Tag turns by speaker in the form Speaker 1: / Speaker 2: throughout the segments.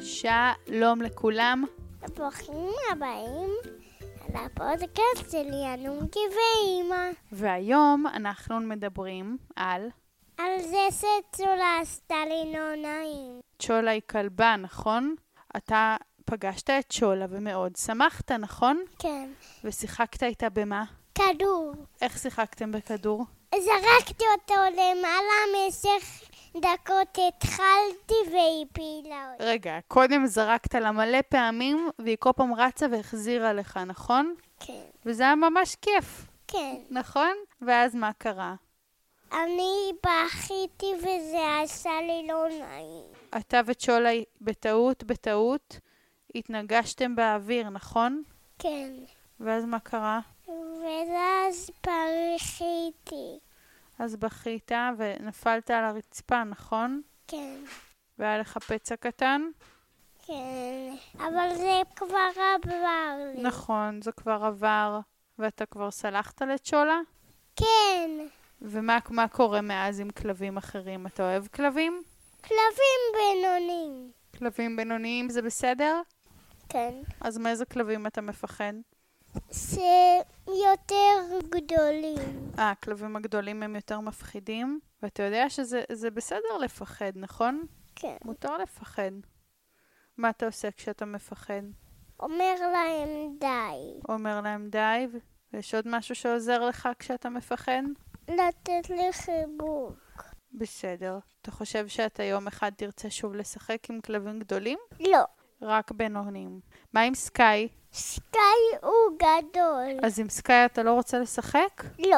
Speaker 1: שלום לכולם.
Speaker 2: ברוכים הבאים לפודקאסט של ינונקי ואימא.
Speaker 1: והיום אנחנו מדברים על
Speaker 2: על זה שצולה עשתה לי לא נעים.
Speaker 1: צ'ולה היא כלבה, נכון? אתה פגשת את צ'ולה ומאוד שמחת, נכון?
Speaker 2: כן.
Speaker 1: ושיחקת איתה במה?
Speaker 2: כדור.
Speaker 1: איך שיחקתם בכדור?
Speaker 2: זרקתי אותו למעלה משך דקות התחלתי והיא פעילה אותי.
Speaker 1: רגע, קודם זרקת לה מלא פעמים, והיא כל פעם רצה והחזירה לך, נכון?
Speaker 2: כן,
Speaker 1: וזה היה ממש כיף,
Speaker 2: כן.
Speaker 1: נכון? ואז מה קרה?
Speaker 2: אני בכיתי וזה עשה לי לא נעים.
Speaker 1: אתה וצ'ולה בטעות, בטעות, התנגשתם באוויר, נכון?
Speaker 2: כן.
Speaker 1: ואז מה קרה?
Speaker 2: ואז פרחיתי.
Speaker 1: אז בכית ונפלת על הרצפה, נכון?
Speaker 2: כן.
Speaker 1: והיה לך פצע קטן?
Speaker 2: כן, אבל זה כבר עבר לי.
Speaker 1: נכון, זה כבר עבר, ואתה כבר סלחת לצ'ולה?
Speaker 2: כן,
Speaker 1: ומה מה קורה מאז עם כלבים אחרים? אתה אוהב כלבים?
Speaker 2: כלבים בינוניים.
Speaker 1: כלבים בינוניים זה בסדר?
Speaker 2: כן.
Speaker 1: אז מאיזה כלבים אתה מפחד?
Speaker 2: זה יותר גדולים.
Speaker 1: אה, הכלבים הגדולים הם יותר מפחידים, ואתה יודע שזה זה בסדר לפחד, נכון?
Speaker 2: כן.
Speaker 1: מותר לפחד. מה אתה עושה כשאתה מפחד?
Speaker 2: אומר להם די.
Speaker 1: אומר להם די, ו- ויש עוד משהו שעוזר לך כשאתה מפחד?
Speaker 2: לתת לי חיבוק.
Speaker 1: בסדר. אתה חושב שאתה יום אחד תרצה שוב לשחק עם כלבים גדולים?
Speaker 2: לא.
Speaker 1: רק בינוניים. מה עם סקאי?
Speaker 2: סקאי הוא גדול.
Speaker 1: אז עם סקאי אתה לא רוצה לשחק?
Speaker 2: לא.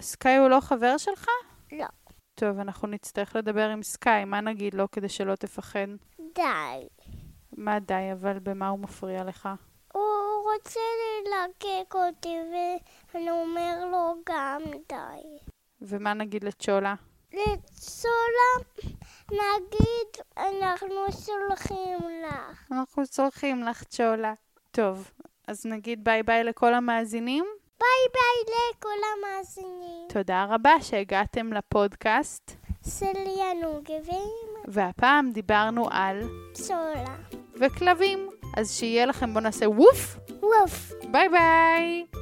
Speaker 1: סקאי הוא לא חבר שלך?
Speaker 2: לא.
Speaker 1: טוב, אנחנו נצטרך לדבר עם סקאי, מה נגיד לו כדי שלא תפחד?
Speaker 2: די.
Speaker 1: מה די, אבל במה הוא מפריע לך?
Speaker 2: הוא רוצה ללקק אותי ואני אומר לו גם די.
Speaker 1: ומה נגיד לצ'ולה?
Speaker 2: לצולם, נגיד, אנחנו סולחים לך.
Speaker 1: אנחנו צורכים לך צ'ולה. טוב, אז נגיד ביי ביי לכל המאזינים.
Speaker 2: ביי ביי לכל המאזינים.
Speaker 1: תודה רבה שהגעתם לפודקאסט,
Speaker 2: סליאנו גבים
Speaker 1: והפעם דיברנו על
Speaker 2: סולה.
Speaker 1: וכלבים. אז שיהיה לכם, בואו נעשה ווף!
Speaker 2: וואף.
Speaker 1: ביי ביי!